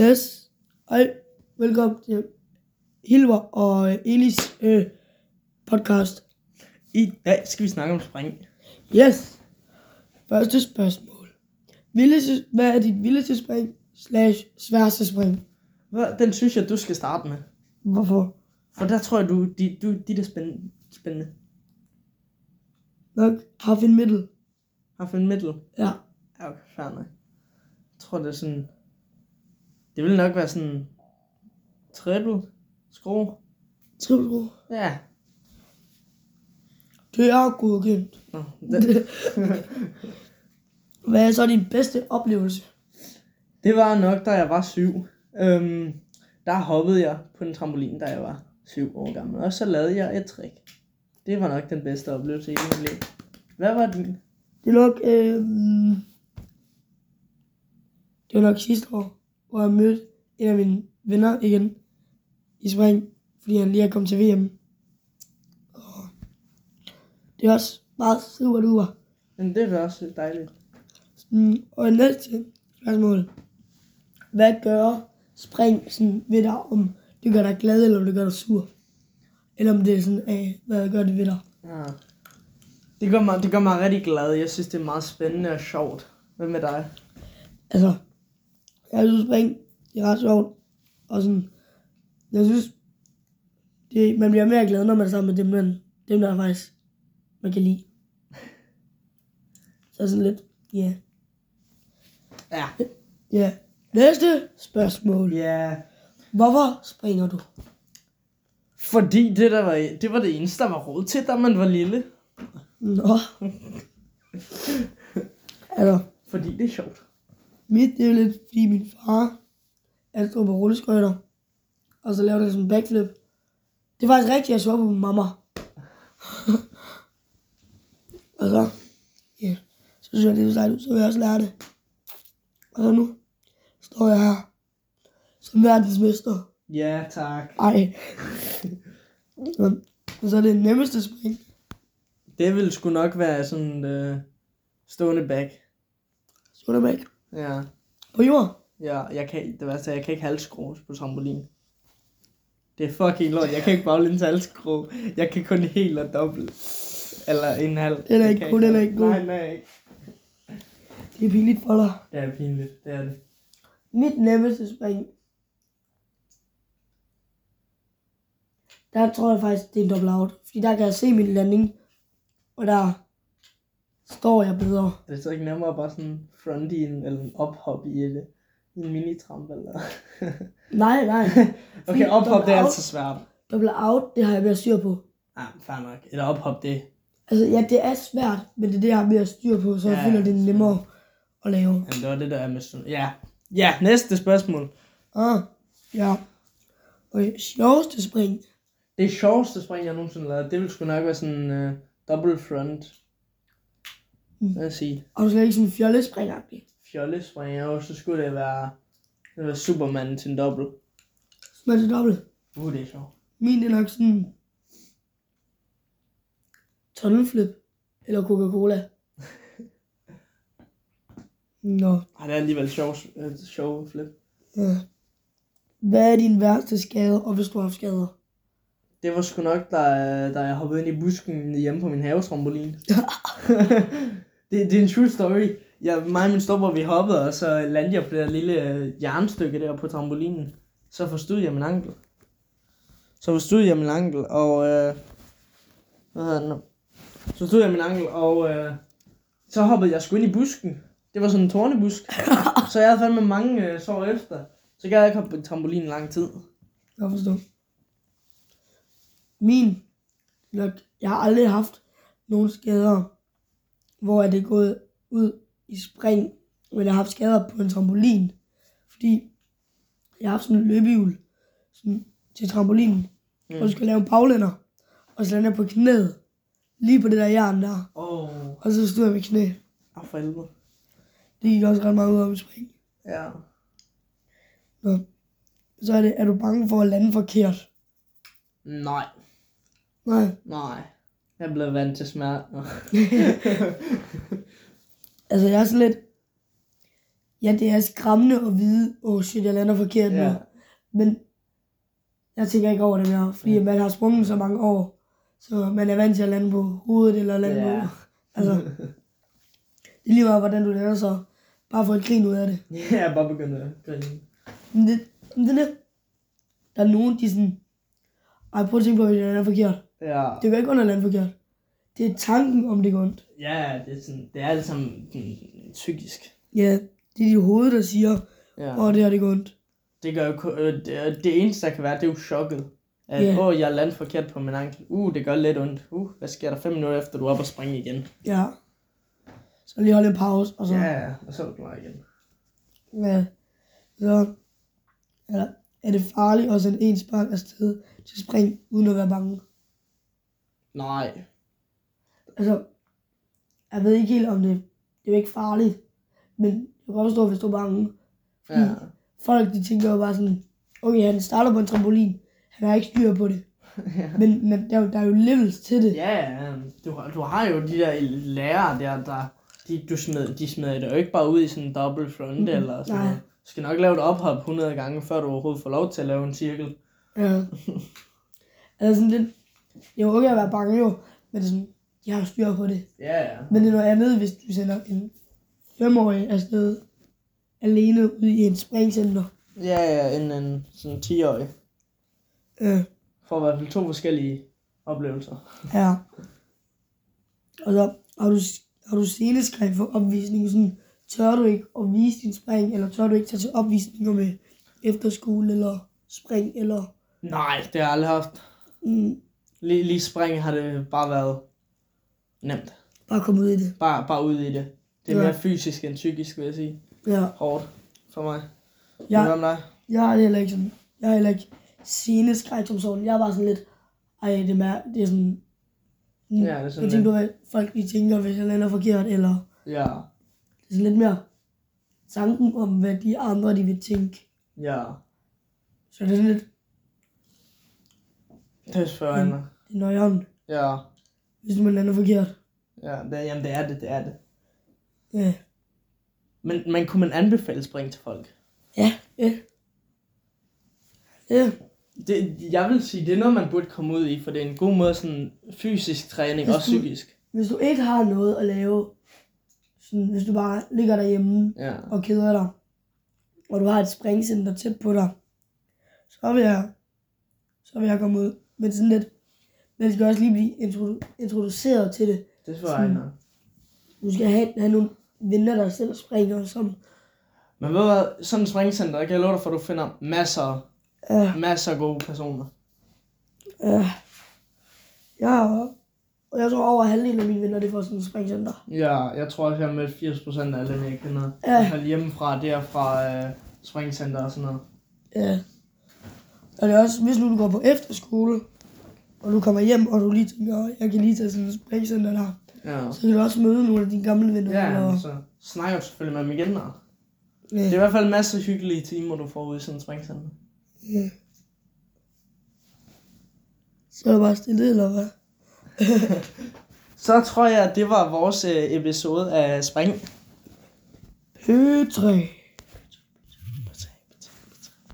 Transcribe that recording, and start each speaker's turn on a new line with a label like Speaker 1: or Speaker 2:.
Speaker 1: Yes. Hej. Velkommen til Hilver og øh, Elis øh, podcast.
Speaker 2: I dag skal vi snakke om spring.
Speaker 1: Yes. Første spørgsmål. Vildeste, hvad er dit vildeste spring slash sværeste spring?
Speaker 2: Hvad- Den synes jeg, du skal starte med.
Speaker 1: Hvorfor?
Speaker 2: For der tror jeg, du, de, du, de der spændende, spændende
Speaker 1: Nok half in middle.
Speaker 2: har fundet middel.
Speaker 1: Ja.
Speaker 2: Ja, okay, fair nok. Jeg tror, det er sådan... Det vil nok være sådan... Triple skru.
Speaker 1: Triple ro.
Speaker 2: Ja.
Speaker 1: Det er godkendt.
Speaker 2: Nå, det,
Speaker 1: Hvad er så din bedste oplevelse?
Speaker 2: det var nok, da jeg var syv. Øhm, der hoppede jeg på en trampolin, da jeg var syv år gammel. Og så lavede jeg et trick. Det var nok den bedste oplevelse i mit liv. Hvad var din?
Speaker 1: Det er nok... Øh, det var nok sidste år, hvor jeg mødte en af mine venner igen i spring, fordi han lige er kommet til VM. Og det er også meget super duper.
Speaker 2: Men det var også dejligt.
Speaker 1: Mm, og næste spørgsmål. Hvad gør spring sådan ved dig, om det gør dig glad, eller om det gør dig sur? Eller om det er sådan, af, hvad gør det ved dig?
Speaker 2: Ja. Det gør, mig, det gør mig rigtig glad. Jeg synes, det er meget spændende og sjovt. Hvad med dig?
Speaker 1: Altså, jeg synes spring, det er ret sjovt. Og sådan, jeg synes, det, man bliver mere glad, når man er sammen med dem, man, dem der faktisk, man kan lide. Så sådan lidt, ja. Yeah.
Speaker 2: Ja.
Speaker 1: Ja. Yeah. Næste spørgsmål.
Speaker 2: Ja.
Speaker 1: Hvorfor springer du?
Speaker 2: Fordi det, der var, det var det eneste, der var råd til, da man var lille.
Speaker 1: Nå. altså,
Speaker 2: Fordi det er sjovt.
Speaker 1: mit det er jo lidt, fordi min far, han stod på rulleskøjter, og så lavede han sådan en backflip. Det er faktisk rigtigt, jeg så på min mamma. og så, ja, yeah, så synes jeg, det er sejt ud, så vil jeg også lære det. Og så nu står jeg her som verdensmester.
Speaker 2: Ja, tak.
Speaker 1: Ej. Men- Men så er det nemmeste spring.
Speaker 2: Det ville sgu nok være sådan øh, stående back.
Speaker 1: Sundermæk.
Speaker 2: Ja.
Speaker 1: På jord.
Speaker 2: ja jeg kan, det værste er, jeg kan ikke halsskrues på trampolin. Det er fucking lort. Jeg kan ikke baglæns halsskru. Jeg kan kun helt og dobbelt. Eller en halv.
Speaker 1: er
Speaker 2: Jeg
Speaker 1: ikke
Speaker 2: kan
Speaker 1: god, den er ikke god.
Speaker 2: Nej, den er ikke.
Speaker 1: Det er pinligt for dig.
Speaker 2: Det er pinligt. Det er det.
Speaker 1: Mit nemmeste spring. Der tror jeg faktisk, det er en dobbelt out. Fordi der kan jeg se min landing. Og der står jeg bedre.
Speaker 2: Er det så ikke nemmere bare sådan front i en, eller en ophop i et, i en minitramp eller?
Speaker 1: Nej, nej. Fordi
Speaker 2: okay, ophop det er
Speaker 1: double
Speaker 2: altså svært.
Speaker 1: out- Dobbelt out, det har jeg mere styr på.
Speaker 2: Ja, fair nok. Eller ophop det.
Speaker 1: Altså, ja, det er svært, men det er det, jeg har mere styr på, så jeg
Speaker 2: Ja,
Speaker 1: føler, det er nemmere at lave.
Speaker 2: Jamen, det var det der er med sådan. Ja. Ja, næste spørgsmål.
Speaker 1: Ah, ja. Okay, sjoveste spring.
Speaker 2: Det sjoveste spring, jeg nogensinde lavede, det ville sgu nok være sådan uh, double front. Lad os sige,
Speaker 1: Og du slet ikke sådan fjollespring
Speaker 2: fjollespring, og så skulle det være, det ville være Superman til en double.
Speaker 1: Men det er dobbelt.
Speaker 2: Uh, det er sjovt.
Speaker 1: Min er nok sådan... Tunnelflip. Eller Coca-Cola. Nå.
Speaker 2: Ej, det er alligevel sjov, øh, sjov flip.
Speaker 1: Ja. Hvad er din værste skade, og hvis du har haft skader?
Speaker 2: Det var sgu nok, da, da jeg hoppede ind i busken hjemme på min havetrampolin. det, det er en true story. Jeg, mig og min storbror, vi hoppede, og så landede jeg på det der lille øh, jernstykke der på trampolinen. Så forstod jeg min ankel. Så forstod jeg min ankel, og... Øh, hvad hedder den nu? Så forstod jeg min ankel, og... Øh, så hoppede jeg sgu ind i busken. Det var sådan en tornebusk. så jeg havde fandme mange øh, sår efter. Så gad jeg ikke hoppe på trampolinen i lang tid.
Speaker 1: Jeg forstår. Min. Nok, jeg har aldrig haft nogen skader, hvor er det gået ud i spring, men jeg har haft skader på en trampolin. Fordi jeg har haft sådan en løbehjul sådan, til trampolinen, mm. og du skal lave en baglænder, og så lander jeg på knæet, lige på det der jern der,
Speaker 2: Åh, oh,
Speaker 1: og så stod jeg med knæ.
Speaker 2: for helvede.
Speaker 1: Det gik også ret meget ud af mit spring.
Speaker 2: Ja.
Speaker 1: Nå. Så er det, er du bange for at lande forkert?
Speaker 2: Nej,
Speaker 1: Nej.
Speaker 2: nej. Jeg blev vant til smerte.
Speaker 1: Altså, jeg er sådan lidt... ja, det er skræmmende at vide, åh oh shit, jeg lander forkert nu.
Speaker 2: Ja.
Speaker 1: Men jeg tænker ikke over det mere, fordi
Speaker 2: Ja.
Speaker 1: ja. man har sprunget så mange år, så man er vant til at lande på hovedet eller lande
Speaker 2: Ja.
Speaker 1: ja. på... Altså, det er lige meget, hvordan du lander, så bare få et grin ud af det.
Speaker 2: ja, bare begynde at grine.
Speaker 1: Men det, men det er det. Der er nogen, de sådan... Ej, prøv at tænke på, hvis jeg lander forkert.
Speaker 2: Ja.
Speaker 1: Det gør ikke ondt at lande forkert. Det er tanken om, det gør ondt.
Speaker 2: Ja, det er, sådan, det er alt sammen mm, psykisk.
Speaker 1: Ja, det er dit hoved, der siger,
Speaker 2: Ja.
Speaker 1: åh, det her, det gør ondt.
Speaker 2: Det gør jo ku- øh, det, det eneste, der kan være, det er jo chokket. At,
Speaker 1: Ja.
Speaker 2: yeah. åh, jeg landte forkert på min ankel. Uh, det gør lidt ondt. Uh, hvad sker der fem minutter efter, du er oppe og springe igen?
Speaker 1: Ja. Så lige holde en pause, og så...
Speaker 2: Ja, og så er du klar igen.
Speaker 1: Ja. Så ja, er det farligt at sende en spark afsted til spring, uden at være bange.
Speaker 2: Nej.
Speaker 1: Altså, jeg ved ikke helt om det. Det er jo ikke farligt, men jeg kan godt forstå, hvis du er bange. Fordi
Speaker 2: Ja.
Speaker 1: ja. folk, de tænker jo bare sådan, okay, han starter på en trampolin, han har ikke styr på det. men, men der, er jo- der er jo levels til det.
Speaker 2: Ja, øhm, du, har- du har jo de der lærere der, der de, du smed, de smider dig jo ikke bare ud i sådan en dobbelt front mm, eller sådan
Speaker 1: nej.
Speaker 2: noget. Du skal nok lave et ophop 100 gange, før du overhovedet får lov til at lave en cirkel.
Speaker 1: Ja. altså sådan lidt, det er jo okay at være bange jo, men det er sådan, jeg har styr på det.
Speaker 2: Ja, ja.
Speaker 1: Men det er noget andet, hvis du sender en femårig afsted alene ud i en springcenter.
Speaker 2: Ja, ja, en, en sådan 10-årig.
Speaker 1: Øh,
Speaker 2: får i hvert fald to forskellige oplevelser.
Speaker 1: ja. Og så har du, har du sceneskræk for opvisning, sådan, tør du ikke at vise din spring, eller tør du ikke tage til opvisninger med efterskole, eller spring, eller...
Speaker 2: Nej, det har jeg aldrig haft.
Speaker 1: Mm,
Speaker 2: Lige, lige spring har det bare været nemt.
Speaker 1: bare komme ud i det.
Speaker 2: Bare, bare ud i det. Det er
Speaker 1: Ja.
Speaker 2: mere fysisk end psykisk, vil jeg sige.
Speaker 1: Ja.
Speaker 2: Hårdt for mig. Ja. Hvad
Speaker 1: Jeg,
Speaker 2: med dig?
Speaker 1: jeg har det heller ikke sådan... Jeg har heller ikke sceneskræk som sådan. Jeg er bare sådan lidt... Ej, det er, mær- det er sådan... Mm,
Speaker 2: Ja, det er sådan
Speaker 1: jeg tænker, hvad folk lige tænker, hvis jeg lander forkert, eller...
Speaker 2: Ja.
Speaker 1: Det er sådan lidt mere tanken om, hvad de andre de vil tænke.
Speaker 2: Ja.
Speaker 1: Så det er sådan lidt
Speaker 2: Det spørger jeg mig.
Speaker 1: det er nøjeren,
Speaker 2: Ja.
Speaker 1: hvis man lander forkert.
Speaker 2: Ja, det, jamen det er det, det er det.
Speaker 1: Ja.
Speaker 2: Men, men kunne man anbefale spring til folk?
Speaker 1: Ja. Ja. ja.
Speaker 2: Det, jeg vil sige, det er noget, man burde komme ud i, for det er en god måde sådan fysisk træning
Speaker 1: Hvis
Speaker 2: og
Speaker 1: du-
Speaker 2: psykisk.
Speaker 1: Hvis du ikke har noget at lave, sådan, hvis du bare ligger derhjemme
Speaker 2: Ja.
Speaker 1: og keder dig, og du har et springcenter tæt på dig, så vil jeg, så vil jeg komme ud. Men sådan lidt, man skal også lige blive introdu- introduceret til det.
Speaker 2: Det svarer jeg mig.
Speaker 1: Du skal have, have nogle venner, der selv springer, som
Speaker 2: Men ved du hvad, sådan et springcenter, der kan jeg love dig for, at du finder masser
Speaker 1: er
Speaker 2: masser af gode personer.
Speaker 1: Ja. øh. Jeg har, og jeg tror over halvdelen af mine venner, det får sådan en springcenter.
Speaker 2: Ja, jeg tror også, jeg har mødt 80% af alle dem, jeg kender.
Speaker 1: Ja.
Speaker 2: Ja. Jeg hjemmefra, det er fra øh, springcenter og sådan noget.
Speaker 1: Ja. Og det er også, hvis nu du går på efterskole, og du kommer hjem, og du lige tænker, jeg kan lige tage sådan en springcenter der,
Speaker 2: Ja.
Speaker 1: så kan du også møde nogle af dine gamle venner.
Speaker 2: Ja,
Speaker 1: eller,
Speaker 2: så snakker du selvfølgelig med dem igen. Og. Det er i
Speaker 1: ja.
Speaker 2: hvert fald en masse hyggelige timer, du får ude i sådan en springcenter.
Speaker 1: ja. Så er der bare stille, eller hvad?
Speaker 2: Så tror jeg, at det var vores øh, episode af Spring.
Speaker 1: P3.